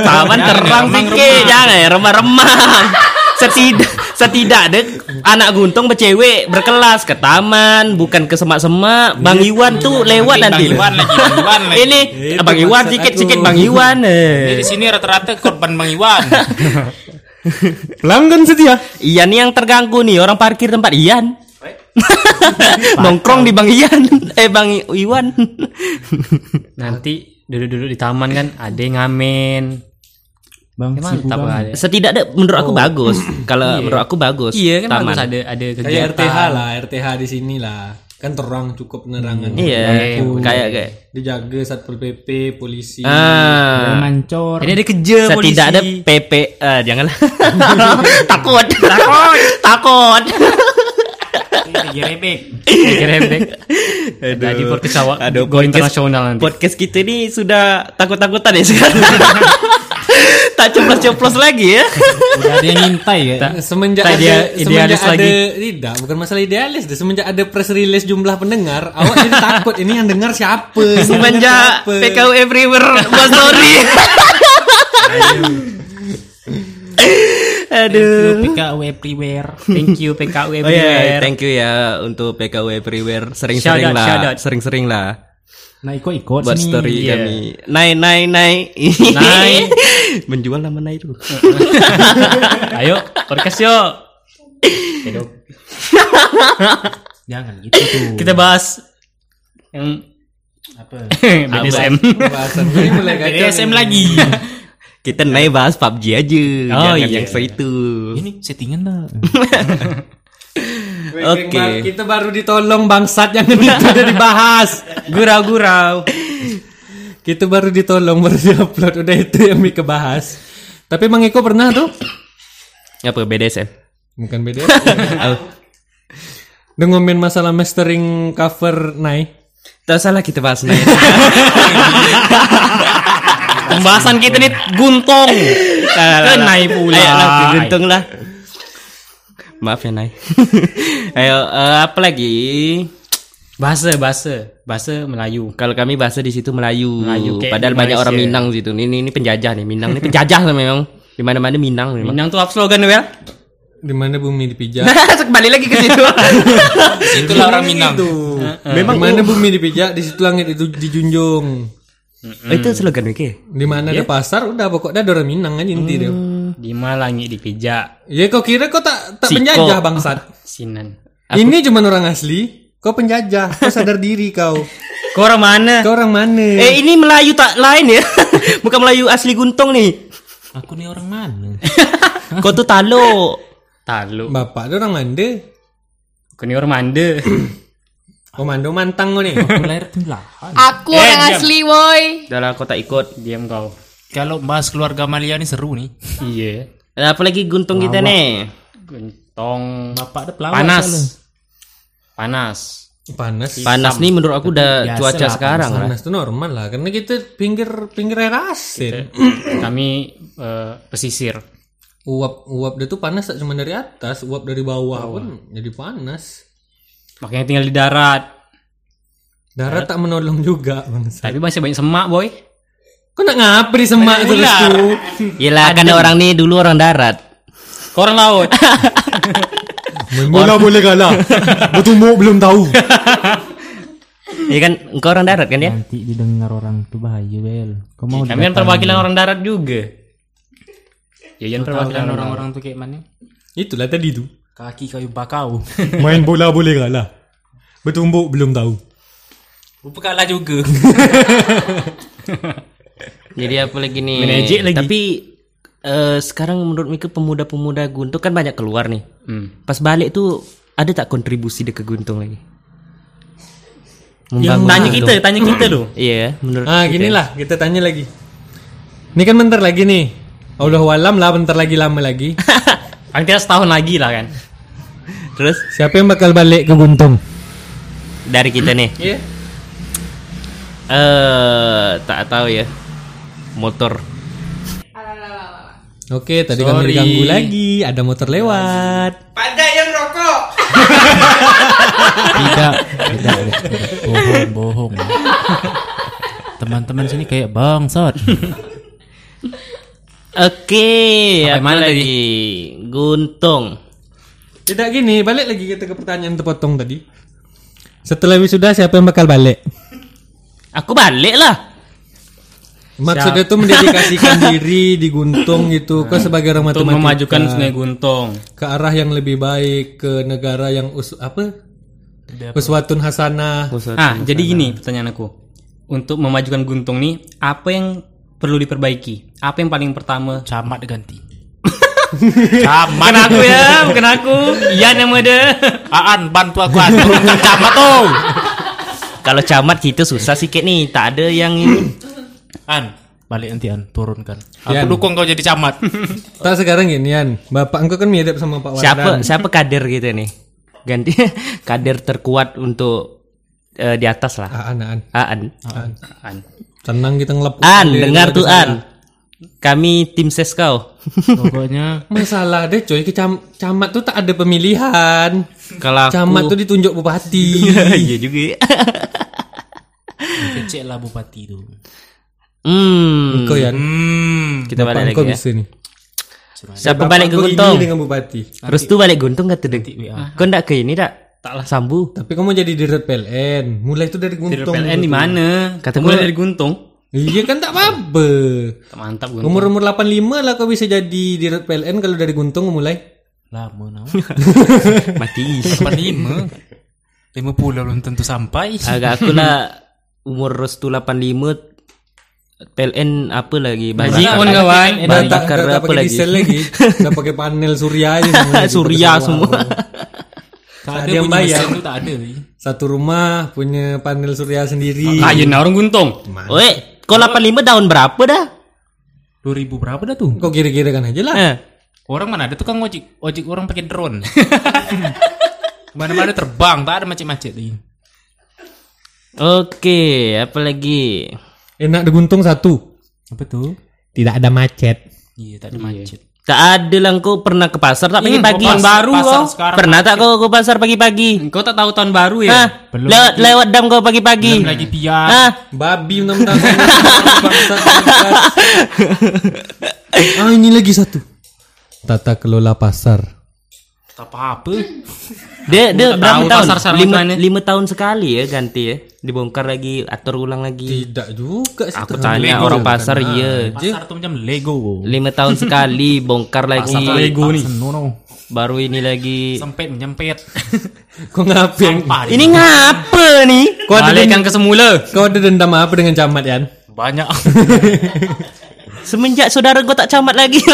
Taman terang sikit. Jangan ya remah-remah. Setidak setidak deh anak guntung bercewek berkelas ke taman bukan ke semak-semak. Bang Iwan tuh lewat nanti. Bang Iwan lagi, Bang Iwan lagi. Ini Bang Iwan maksud sikit-sikit aku. Bang Iwan. eh. Di sini rata-rata korban Bang Iwan. Pelanggan setia. [LAUGHS] Ian nih yang terganggu nih orang parkir tempat Ian. Nongkrong di Bang Ian Eh Bang I- Iwan Nanti duduk-duduk di taman kan ada yang ngamen. Bang, Ya, mantap lah ada. Setidaknya menurut aku bagus Kalau menurut aku bagus Oh. Iya kan Taman. Oh, iya. bagus ada ada [LAUGHS] Kayak kegiatan. RTH lah, RTH di sini lah. Kan terang cukup penerangan. Iya Kayak kayak Dijaga Satpol PP, polisi. Ah. mancor. Jadi ada kerja polisi. Setidak ada PP eh, [LAUGHS] janganlah. Takut. Takut. Takut. Jadi rebek. Gerebek. Jadi podcast awak Aduh, go podcast- internasional nanti. Podcast kita ini sudah takut-takutan ya sekarang. [LAUGHS] tak coplos-coplos lagi ya. Udah ada yang ngintai ya. semenjak Tak, ada dia idealis semenjak lagi. ada tidak bukan masalah idealis deh semenjak ada press release jumlah pendengar awak jadi takut ini yang dengar siapa Yang dengar Semenjak siapa? PKU everywhere buat story. Aduh. PKW everywhere. Thank you PKU Oh iya, everywhere. thank you ya untuk PKU everywhere. Shout Sering-sering out, shout lah, out. sering-sering lah. Nah, ikut-ikut buat sini. story iya. kami naik naik naik Naik. [LAUGHS] menjual nama naik dulu Ayo podcast yuk. Jangan gitu tuh. Kita bahas [LAUGHS] yang apa? BDSM. Pembahasan ini [LAUGHS] mulai kacau nih. BDSM lagi. kita naik bahas PUBG aja Oh, jangan iya. yang itu Ini settingan lah. Wait, wait, Oke. Mar, kita [LAUGHS] baru ditolong bangsat yang itu udah dibahas gurau-gurau kita baru ditolong baru diupload udah itu yang Mika bahas tapi Mang Eko pernah tuh apa BDSM bukan beda udah ngomen masalah mastering cover naik tak salah kita bahas naik Pembahasan kita nih guntong. Kenai pula. Kan ayo lah beruntung lah maaf ya naik [LAUGHS] ayo eh, apa lagi Bahasa bahasa bahasa Melayu. kalau kami bahasa di situ Melayu, Melayu, kayak padahal di banyak orang Malaysia. Minang di situ ini ini penjajah nih Minang ini penjajah lah memang di mana mana Minang memang Minang tuh apa slogan ya. Wel? di mana bumi dipijak [LAUGHS] kembali lagi ke situ Itulah orang Minang. Memang di mana bumi dipijak, di situ langit itu dijunjung. Oh, itu slogan Wiki Di mana ada pasar, udah pokoknya ada orang Minang aja inti dia. Di mana langit dipijak Ya kau kira kau tak tak Siko. penjajah bangsat. Ah, sinan. Ini cuma orang asli. Kau penjajah, kau sadar [LAUGHS] diri kau. Kau orang mana? Kau orang mana? Eh ini Melayu tak lain ya [LAUGHS] Bukan Melayu asli Guntong nih Aku nih orang mana? Kau tuh talo Talu. Bapak dia orang mande. Kuni orang mande. [COUGHS] Komando mantang kau ni. Aku lahir tenggelam. Aku orang asli woi. Udah lah kau tak ikut Diam kau. Kalau bahas keluarga Malia ini seru nih. Iya. Ada apa lagi Guntong kita nih Guntong. Bapak ada pelawak. Panas. soalnya. Panas. Panas. Panas nih menurut aku udah Biasa cuaca lah, sekarang lah Panas itu normal lah, karena kita pinggir pinggir air asin. Kami eh, pesisir. Uap uap dia tuh panas tak cuma dari atas, uap dari bawah, pun jadi panas. Makanya tinggal di darat. Darat tak menolong juga bangsa. Tapi masih banyak semak boy. Kau nak ngapa di semak terus tu? Yelah kan orang nih dulu orang darat Kau orang [LAUGHS] laut. Bola boleh kalah. Bertumbuh belum tahu. Iya kan Engkau orang darat kan ya Nanti didengar orang tuh bahaya, Bel. Kau mau Kami kan perwakilan orang darat juga. Ya, jangan perwakilan orang orang. tuh kayak mana? Itulah tadi tu. Kaki kayu bakau. [LAUGHS] Main bola boleh kalah. Bertumbuk belum tahu. Rupa kalah juga. [LAUGHS] Jadi apa lagi nih Menejek lagi. Tapi eh, Sekarang menurut Mika pemuda-pemuda Guntong kan banyak keluar nih Hmm. Pas balik tuh Ada tak kontribusi dia ke Guntong lagi? Membangun Tanya Guntong. kita, tanya kita loh. [CLEARS THROAT] Iya menurut Ah, ginilah kita tanya lagi. Ini kan bentar lagi nih. Allah walam lah bentar lagi lama lagi. Paling tidak setahun lagi lah kan. Terus [LAUGHS] Siapa yang bakal balik ke Buntung? dari kita [CLEARS THROAT] nih Iya. Eh tak tahu ya. Motor. Oke, tadi kami ganggu lagi. Ada motor lewat. tidak, tidak, tidak. bohong, bohong. Teman-teman sini kayak bangsat. Oke, Sampai apa mana lagi? Guntung. Tidak gini, balik lagi kita ke pertanyaan terpotong tadi. Setelah wisuda siapa yang bakal balik? Aku balik lah. Maksudnya tuh [LAUGHS] mendedikasikan diri di Guntung gitu. Nah, Kau sebagai orang Untuk matematika memajukan Sungai Guntong. ke arah yang lebih baik ke negara yang us apa Uswatun hasanah. Ah, jadi gini pertanyaan aku. Untuk memajukan Guntung nih, apa yang perlu diperbaiki? Apa yang paling pertama? Camat ganti. Ah, Bukan aku ya, bukan aku. Iya nama dia. Aan bantu aku Aan. Tukang camat tuh. Kan Kalau camat kita susah sikit nih, tak ada yang ini. An, balik nanti An, turunkan. Aku Yan. dukung kau jadi camat. Tak sekarang ginian. Bapak engkau kan mirip sama Pak siapa Wardan. siapa kader gitu nih? Ganti [LAUGHS] kader terkuat untuk eh, di atas lah. Ah, Aan. Aan. An. Tenang kita ngelepon. An, dengar tuh An. Kami tim ses [LAUGHS] kau. Pokoknya Masalah deh coy, ke cam- camat tuh tak ada pemilihan. Kalau aku Camat tuh ditunjuk bupati. [LAUGHS] iya juga. ya. kecil lah bupati itu. hmm. Engkau ya. Hmm. Kita Bapak balik engkau lagi ya. bisa nih. Siapa balik ke Engkau Guntung? ini dengan ya. bupati. Restu balik Guntung kata deng. Kau ndak ke ini dak? Taklah sambu. Tapi kamu jadi dirut PLN. Mulai itu dari Guntung. PLN di mana? Kata Mulai gua- dari Guntung. Iya kan tak apa-apa. Mantap Guntung. Umur-umur 85 lah kau bisa jadi dirut PLN kalau dari Guntung kau mulai. Lama nah. [LAUGHS] Mati. Depan lima. Lima puluh belum tentu sampai. Agak aku lah umur Restu 85 PLN apa lagi? Haji on kawan. Dah Eh, bahan tak, bakar dah tak apa pakai lagi? diesel [LAUGHS] lagi. Dah pakai panel surya aja semua lagi, Surya pakai semua. Tak Ada ada yang yang bayar. Itu tak ada. lagi. Satu rumah punya panel surya sendiri. Ah, ya, nah orang Guntung. Weh, kau 85 tahun berapa dah? Dua ribu berapa dah tuh? Kau kira-kira kan aja lah. Eh, Orang mana ada tukang ojek? Ojek orang pakai [LAUGHS] drone. Mana-mana terbang, tak ada macet-macet lagi. Oke, apa lagi? Enak diguntung satu. Apa tuh? Tidak ada macet. Iya, tak ada macet. Tak ada lah kau pernah ke pasar tak pagi-pagi kau yang pasar- baru pasar kau. sekarang Pernah tak kau ke pasar pagi-pagi? Kau tak tahu tahun baru ya? Hah? belum lewat lewat dam kau pagi-pagi. Belum lagi piar. Hah? Babi mentang-mentang. [LAUGHS] Bangsat, bangsat. ah ini lagi satu. Tata kelola pasar. Tak apa-apa. Dia dia berapa tahu tahun? pasar sekarang lima, mana. lima tahun sekali ya ganti ya. Dibongkar lagi, atur ulang lagi. Tidak juga sih. Aku terlalu kan? tanya lebar. orang pasar iya. Pasar tuh macam Lego. Iya, Lima tahun [LAUGHS] sekali bongkar lagi. Lego Iya. nih. No, no. Baru ini lagi. Sempet menyempit. Kau ngapain? Sampah. Ini ngapa nih? Kau ada, dendam, Balikkan ke semula. kau ada dendam apa dengan camat Yan? Banyak. Semenjak saudara kau tak camat lagi. [LAUGHS]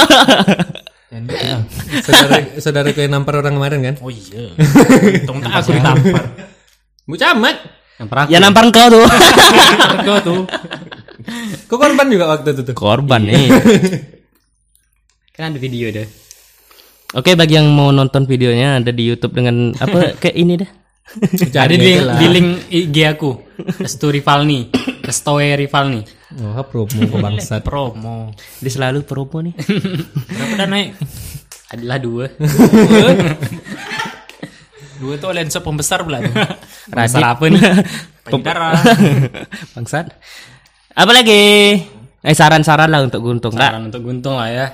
Saudara, saudara kau yang nampar orang kemarin kan? [LAUGHS] oh iya. Untung tak aku ditampar. Bu camat. Yang pernah yang nampar Ya, kau [LAUGHS] tuh. Kau tuh. Kau korban juga waktu itu tuh. Korban nih. [LAUGHS] kan ada video deh. Oke, bagi yang mau nonton videonya ada di YouTube dengan [LAUGHS] apa kayak ini dah. Ada di, Jangan gitu lah. di link IG aku. Restu Rivalni. Restoe Rivalni. Wah promo kau bangsat. Promo. Dia selalu promo [LAUGHS] nih. Berapa dah naik? Adalah dua. [LAUGHS] Dua tuh lensa pembesar pula tuh. Radit. Masalah apa [LAUGHS] nih? Pakai darah. Bangsat. Apa lagi? Eh saran-saran lah untuk Guntung. Nah, Saran untuk Guntung lah ya.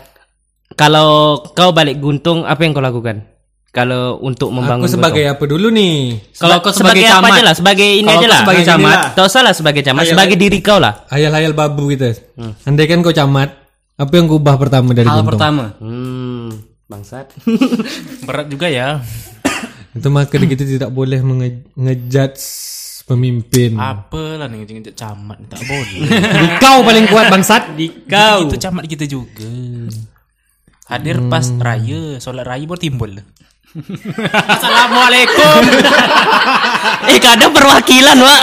kalau kau balik Guntung, apa yang kau lakukan? Kalau untuk membangun Aku sebagai Guntung. apa dulu nih? Kalau kau sebagai, apa camat. aja lah, sebagai ini Kalau aja kau lah. sebagai Nah, gini camat. lah. Tak usah lah sebagai camat, Ayo, sebagai diri kau lah. Ayal-ayal babu kita. Andai kan kau camat, apa yang kau ubah pertama dari Hal Guntung? pertama. Hmm, [LAUGHS] bangsat. Berat juga ya. Itu maka kita tidak boleh menge- ngejudge pemimpin. Ah. Apalah nih ngejek-ngejek camat tak boleh. kau paling kuat bangsat. Kau itu camat kita juga. Hadir Hmm. pas raya, solat raya baru timbul. [LAUGHS] Assalamualaikum. eh, kadang perwakilan, Wak.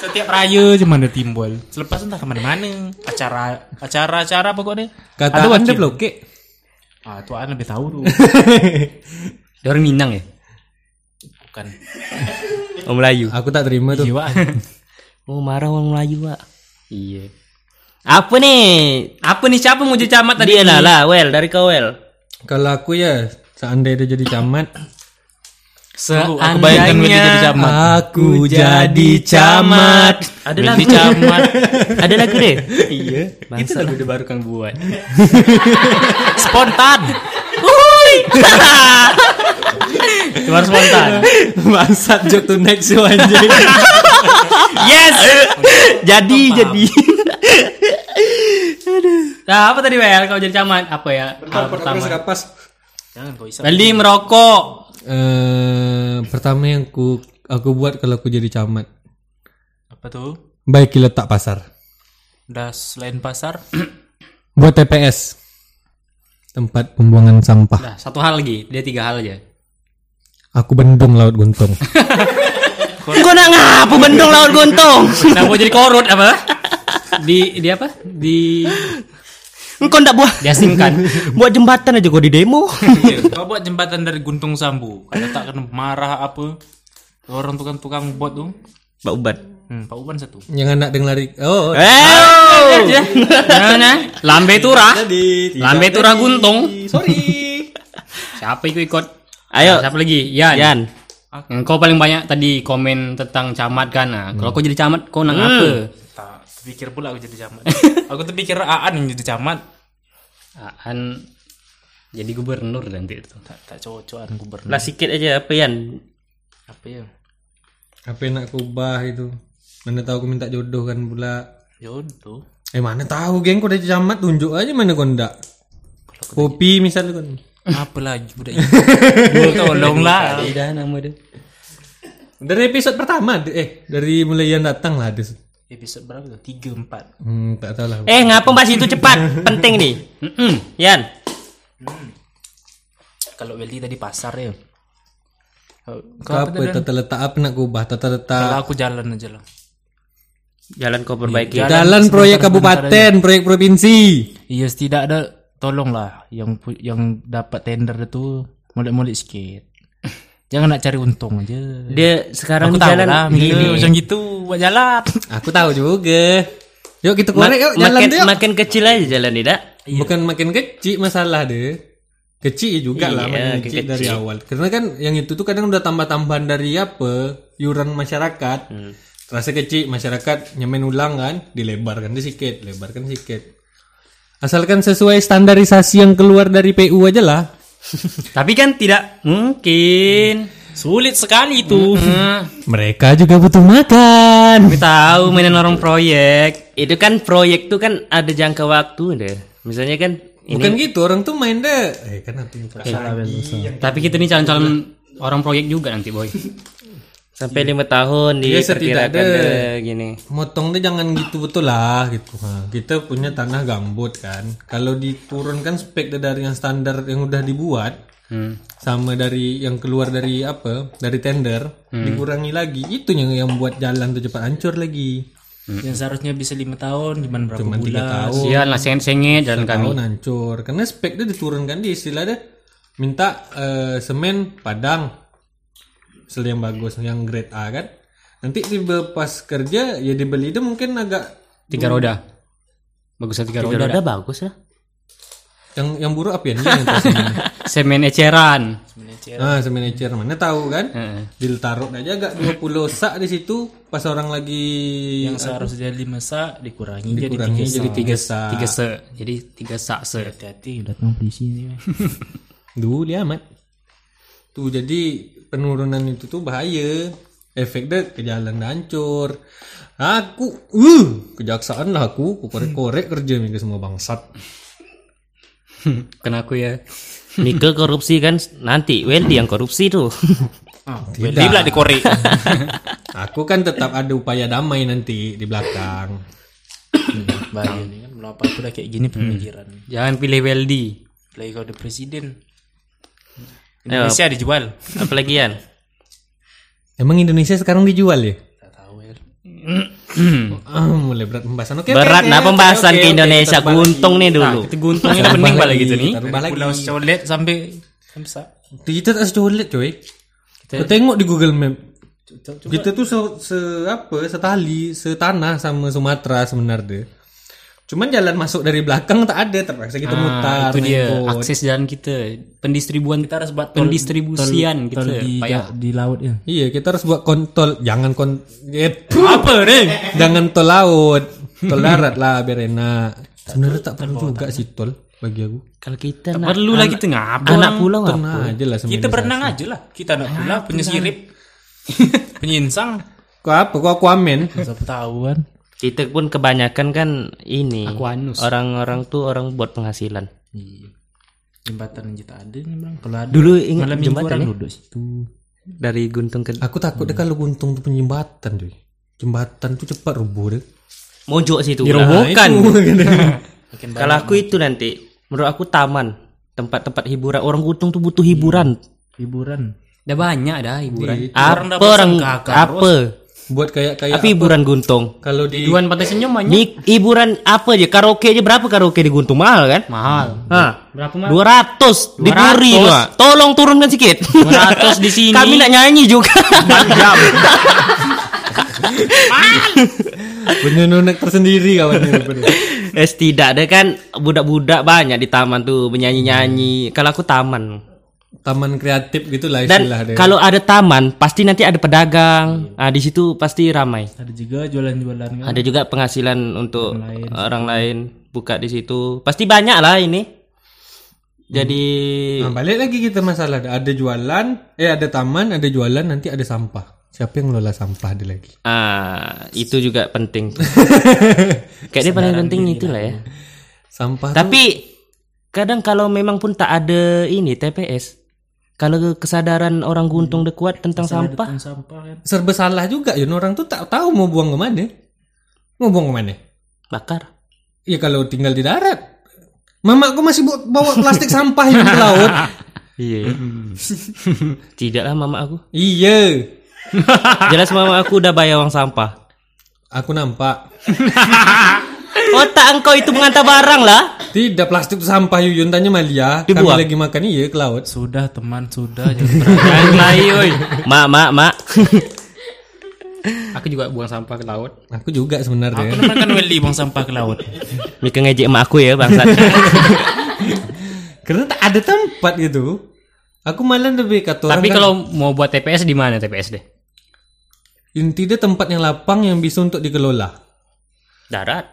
Setiap raya je mana timbul. Selepas entah ke mana-mana. Acara acara acara pokoknya. Kata anda bloke. Ah, tuan lebih tahu tu. Dia orang Minang ya? Bukan. Oh, Melayu. Aku tak terima tuh. Jiwa. Oh, marah orang Melayu, Wak. Iya. Apa nih? Apa nih siapa mau jadi camat tadi? Dia lah lah, well dari kau well. Kalau aku ya, seandainya dia jadi camat, Aku bayangkan Willy jadi Seandainya camat. aku jadi camat. Ada Willy lagu camat. Ada lagu deh. Iya. Itu lagu dia baru kang [LAUGHS] buat. Spontan. [LAUGHS] Itu baru spontan. Bangsat joke to next you [LAUGHS] anjing. yes. jadi [LAUGHS] jadi. Nah, apa tadi Wel? Kalau jadi camat apa ya? Hal Pertama pertama. kapas. Jangan kau isap. Beli merokok. eh, pertama yang ku aku buat kalau aku jadi camat, Apa tuh? baiki letak pasar. Udah selain [COUGHS] pasar. Buat TPS. Tempat pembuangan sampah. Nah, satu hal lagi, dia tiga hal aja. Aku bendung laut guntung. Kau nak ngapu bendung laut gontong? [LAUGHS] Kenapa jadi korut apa? Di di apa? Di Kau ndak buat diasingkan. [LAUGHS] buat jembatan aja kau di demo. Iya, Kau buat jembatan dari Guntung Sambu. Kalau tak kena marah apa. Orang tukang-tukang bot tuh. Pak Ubat. Hmm, Pak Uban satu. yang anak dengan lari. [LAUGHS] Oh, Eh, Nah, nah, lambe turah. jadi. Lambe turah guntung. Sorry. [LAUGHS] Siapa ikut ikut? Ayo. Siapa lagi? Yan. Yan. Hmm, Kau paling banyak tadi komen tentang camat kan. Nah, Hmm. kalau kau jadi camat kau nang apa? Tak terpikir pula aku jadi camat. [LAUGHS] aku terpikir Aan yang jadi camat. Aan jadi gubernur nanti itu. Tak, tak cocok Aan gubernur. Lah sikit aja apa Yan? Apa ya? Apa yang nak kubah itu? Mana tahu aku minta jodoh kan pula. Ya Jodoh. Eh mana tahu geng kau udah camat tunjuk aja mana kau ndak. Kopi misalnya kan. Apa lagi budak ini? Gua Tolong lah. Tidak nama dia. Dari episode pertama eh dari mulai yang datang lah ada. Episode berapa tuh? Tiga empat. Hmm, tak tahu lah. Eh, ngapa bahas itu cepat? Penting nih. Yan. Kalau Welly tadi pasar ya. Kau Kau apa apa tadi? tata letak apa nak kubah? Tata letak Kalau aku jalan aja lah. Jalan kau perbaiki. jalan proyek kabupaten, proyek provinsi. Iya tidak ada tolonglah yang pu- yang dapat tender itu mulai-mulai [LAUGHS] sikit. Jangan nak cari untung aja. Dia sekarang Aku di tahu jalan lah, gini. gini. macam gitu buat jalan. Aku tahu juga. Yuk kita Ma- korek yuk jalan tuh. makin, yuk. Iya. makin kecil aja jalan tidak? Bukan makin kecil masalah deh. Kecil ya juga lah Iya, makin kecil, dari awal. Karena kan yang itu tuh kadang udah tambah-tambahan dari apa? Iuran masyarakat. Terasa kecil masyarakat nyemen ulang kan, dilebarkan dia sikit, lebarkan sikit. Asalkan sesuai standarisasi yang keluar dari PU aja lah. Tapi kan tidak mungkin. Sulit sekali itu. Mereka juga butuh makan. Kami tahu mainan orang proyek. Itu kan proyek tuh kan ada jangka waktu deh. Misalnya kan ini Bukan gitu, orang tuh main deh. Eh, kan nanti salah Tapi kita nih calon-calon orang proyek juga nanti boy. sampai lima tahun Dia diperkirakan Iya, setidak ada. deh, gini. Motong deh jangan gitu betul lah gitu. Ha, kita punya tanah gambut kan. Kalau diturunkan spek dia dari yang standar yang udah dibuat Hmm. sama dari yang keluar dari apa? Dari tender Hmm. dikurangi lagi. Itu yang yang buat jalan tuh cepat hancur lagi. [LAUGHS] Yang seharusnya bisa lima tahun, cuman berapa Cuman tiga bulan? tahun. Sian lah sengit-sengit jalan kami. Tahun hancur. Karena spek dia diturunkan di istilah dia minta eh, semen padang sel yang bagus yang grade A kan. Nanti tiba pas kerja ya dibeli itu mungkin agak Tiga roda. Bagusnya tiga Roda, roda. roda bagus ah. lah. yang yang buruk apa ya? Ini yang atas ini. Semen eceran. Ah, semanager mana tahu kan? Dil taruh aja agak 20 sak di situ pas orang lagi Yang seharusnya lima sa dikurangi, dikurangi jadi jadi 3 tiga. Ya, sak. Tiga se. Jadi tiga sak se. Hati-hati datang polisi [LAUGHS] ini. Duh, dia amat. Tuh jadi penurunan itu tuh bahaya. Efek dia ke jalan dah hancur. Aku uh, kejaksaan lah aku, aku korek-korek kerja minggu semua bangsat. Kena aku ya. Nike korupsi kan nanti Weldy yang korupsi tuh. [LAUGHS] Welly pula dikorek. Aku kan tetap ada upaya damai nanti di belakang. Bahaya ini kan kalau apa-apa udah kayak gini pemikiran. Jangan pilih Weldy. Lagi kau ada presiden. Indonesia dijual. Apalagi Yan? Emang Indonesia sekarang dijual ya? Tak tahu ya. Ah, mulai berat pembahasan. Oke, oke, Berat oke, nah oke, pembahasan oke, ke oke, Indonesia. kita tambah lagi. Guntung nih dulu. Itu guntung ini bening balik gitu nih. Taruh balik. Pulau Colet sampai sampai sa. Kita tak secolet coy. Kita tengok di Google Map. Kita tuh se, se- apa setali setanah sama Sumatera sebenarnya. Cuman jalan masuk dari belakang tak ada terpaksa kita mutar. Itu naik dia kot. akses jalan kita. Pendistribuan kita harus buat tol- gitu ya, pendistribusian Tol kita. di, Payah. di laut ya. Iya kita harus buat kontol jangan kon eh, Apa nih? [LAUGHS] jangan tol laut tol darat lah biar enak. Sebenarnya tak perlu juga sih tol bagi aku. [LAUGHS] Kalau kita nak Perlu lagi tuh ngapa? anak pulau apa? Tenang aja lah Kita sebenarnya. berenang aja lah. Kita anak pula punya [LAUGHS] sirip. Penyinsang. Kau apa? Kau aku amin. Siapa tahu kan. Kita pun kebanyakan kan ini. Aquanus. Orang-orang tuh orang buat penghasilan. Iya. Jembatan yang kita ada nih bang. Kalau ada Dulu ingat malam minggu jembatan orang ya? duduk situ. dari Guntung ke Aku takut deh kalau Guntung tuh penjembatan cuy. Jembatan tuh cepat rubuh deh. Mojok situ. Dirobohkan. Kalau aku Nah, itu nanti menurut aku taman tempat-tempat hiburan orang Guntung tuh butuh hiburan. Hiburan. Udah banyak dah hiburan. Apa dah orang bosan kakak, apa? Buat kayak kayak Apa hiburan Guntung? kalau di Tujuan Pantai Senyum banyak. Ni hiburan apa aja? Karaoke aja berapa karaoke di Guntung mahal kan? Mahal. Hah. Berapa mahal? 200 di Puri tu, ah. Tolong turunkan sikit. 200 di sini. Kami nak nyanyi juga. benar-benar tersendiri kawan [LAUGHS] Eh tidak ada kan budak-budak banyak di taman tuh menyanyi-nyanyi. Kalau aku taman. Taman kreatif gitulah Dan istilah deh. kalau ada taman pasti nanti ada pedagang. Ah di situ pasti ramai. Ada juga jualan-jualan kan. Ada juga penghasilan untuk Hmm. orang lain buka di situ. Pasti banyak lah ini. Jadi Hmm. Nah, balik lagi kita masalah ada ada jualan, eh ada taman, ada jualan, nanti ada sampah. Siapa yang ngelola sampah ada lagi? ah itu juga penting. [LAUGHS] tuh. Kayaknya paling penting itulah ya. Sampah tuh Tapi kadang kalau memang pun tak ada ini TPS. Kalau kesadaran orang Guntung udah kuat Hmm. tentang sampah, Tong sampah kan. serba salah juga ya orang tuh tak tahu mau buang ke mana. Mau buang ke mana? bakar. Ya kalau tinggal di darat. Mamaku masih bu- bawa plastik sampah itu ke [LAUGHS] laut. Iya. Tidaklah mama [LAUGHS] aku. Iya. Jelas mama aku udah bayar uang sampah. Aku nampak. Otak engkau itu mengantar barang lah. Tidak plastik itu sampah Yuyun tanya Malia. Dibuang. Kami lagi makan iya ke laut. Sudah teman [LAUGHS] sudah jangan berani. Jangan lari, oi. Mak, mak, mak. Aku juga buang sampah ke laut. Aku juga Aku sebenarnya. [LAUGHS] namakan Welly buang kan sampah ke laut. Mika ngejek mak aku ya bangsat. Karena tak ada tempat gitu. Aku malah lebih kata orang Tapi kan, kalau mau buat TPS di mana TPS deh? intinya tempat yang lapang yang bisa untuk dikelola. Darat.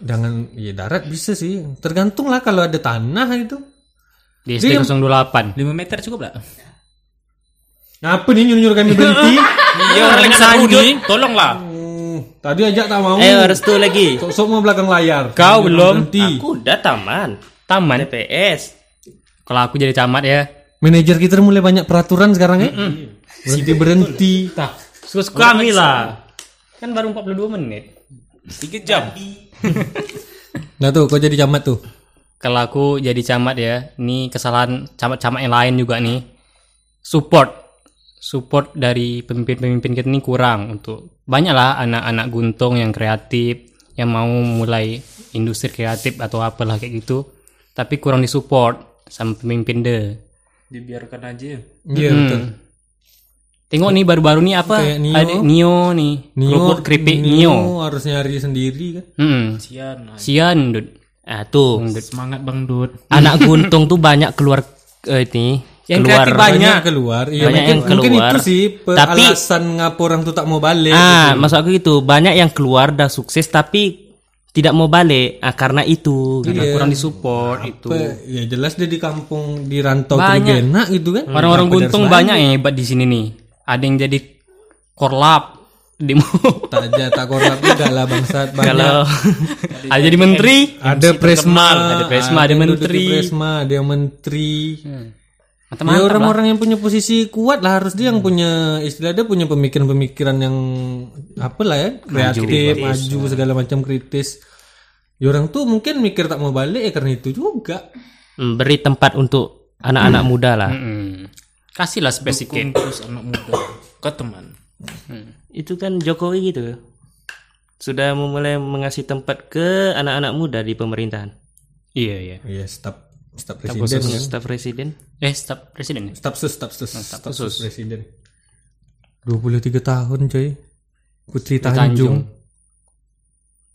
Jangan ya darat bisa sih. Tergantung lah kalau ada tanah gitu. Di SD 028. 5 meter cukup lah. Ngapa nih nyuruh-nyuruh kami [LAUGHS] berhenti? Iya orang sani. Tolonglah. Hmm, tadi ajak tak mau. Eh, harus tuh lagi. Sok-sok mau belakang layar. Nyuruh Kau belum. Berhenti. Aku udah taman. Taman. TPS. Kalau aku jadi camat ya. Manajer kita mulai banyak peraturan sekarang ya. Berhenti berhenti. Suka kami Ah. lah. Kan baru 42 menit. 3 jam. Nah tuh, kau jadi camat tuh. Kalau aku jadi camat ya, ini kesalahan camat-camat yang lain juga nih. Support. Support dari pemimpin-pemimpin kita ini kurang untuk banyaklah anak-anak guntung yang kreatif, yang mau mulai industri kreatif atau apalah kayak gitu, tapi kurang disupport sama pemimpin deh. Dibiarkan aja. Iya betul. Tengok nih baru-baru nih apa? Kayak Nio. Ada Nio nih. Kerupuk keripik Nio. harus nyari sendiri kan. Hmm. Sian. ay. Sian, Dut. Hmm, Ah, tuh. [LAUGHS] Semangat Bang Dut. Anak guntung tuh banyak keluar eh, ini. Yang keluar. kreatif banyak. Banyak keluar. Iya, Banyak mungkin, yang keluar. mungkin itu sih pe- Tapi- alasan ngapa orang tuh tak mau balik. Ah, maksud aku gitu. Banyak yang keluar dah sukses tapi tidak mau balik. Ah, karena itu. gitu. Iya. Kurang disupport itu. Pe- ya jelas dia di kampung di rantau tuh Banyak. Hmm. lebih enak gitu kan. Orang-orang Kenapa dia guntung harus banyak yang hebat di sini nih. Ada yang jadi korlap [LAUGHS] demo. balik? Tak aja tak korlap juga lah [LAUGHS] bangsat banyak. Kalau ada jadi menteri. Ada presma, Ada presma, ada yang Ah, duduk di menteri. Hmm. presma, ada yang menteri. Ya Mantap-mantap lah. Hmm. orang-orang yang punya posisi kuat lah harus dia yang punya istilah dia punya pemikiran-pemikiran yang apa lah ya kreatif, maju segala macam kritis. Ya orang tuh mungkin mikir tak mau balik ya karena itu juga. mm, beri tempat untuk anak-anak Hmm. muda lah. Mm-mm. Kasihlah space sedikit. Terus anak muda ke teman. Itu kan Jokowi gitu. Sudah mulai mengasih tempat ke anak-anak muda di pemerintahan. Iya, iya. Ya staf staf presiden kan. Staf presiden. Eh, staf presiden ya? Staf sus, staf sus, Nah, staf sus presiden. 23 tahun coy. Putri Tanjung,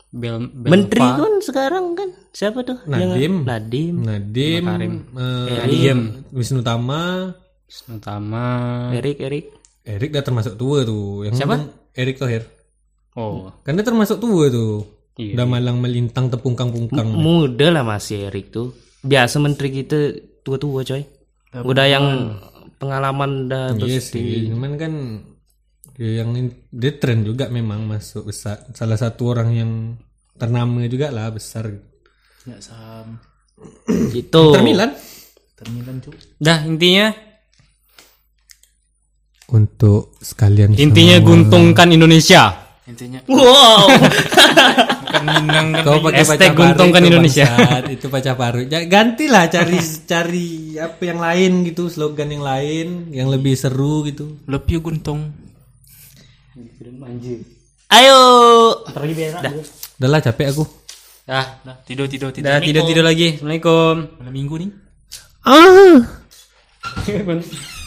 Bel, Bel- Menteri Pak. kan sekarang kan siapa tuh? Nadiem. Yang- Nadiem. Nadiem, Nah, eh, Wisnu Tama, Utama. Erik Erik. Erik dah termasuk tua tuh. Yang Siapa? Erik Thohir. Oh, Kan dia termasuk tua tuh. Iya. Udah malang melintang tepungkang-pungkang. Muda lah masih Erik tuh. Biasa menteri kita tua-tua coy. Udah yang pengalaman dah Iya terus sih. Cuman kan dia yang in- dia tren juga memang masuk besar. Salah satu orang yang ternama juga lah besar. Enggak saham. Inter gitu. Milan. Termilan cu. Dah intinya Untuk sekalian intinya semua. guntungkan Indonesia. Intinya Wow. bukan Minang kan. Kau pakai Hashtag pacar guntungkan itu Indonesia. bangsat, itu pacar paru. Ja- gantilah [LAUGHS] cari cari apa yang lain gitu, slogan yang lain yang lebih seru gitu. Love you Guntong. Ayo. Udahlah capek aku. Dah, Dah, tidur tidur tidur. dah tidur tidur lagi. Assalamualaikum. Malam minggu nih. Ah.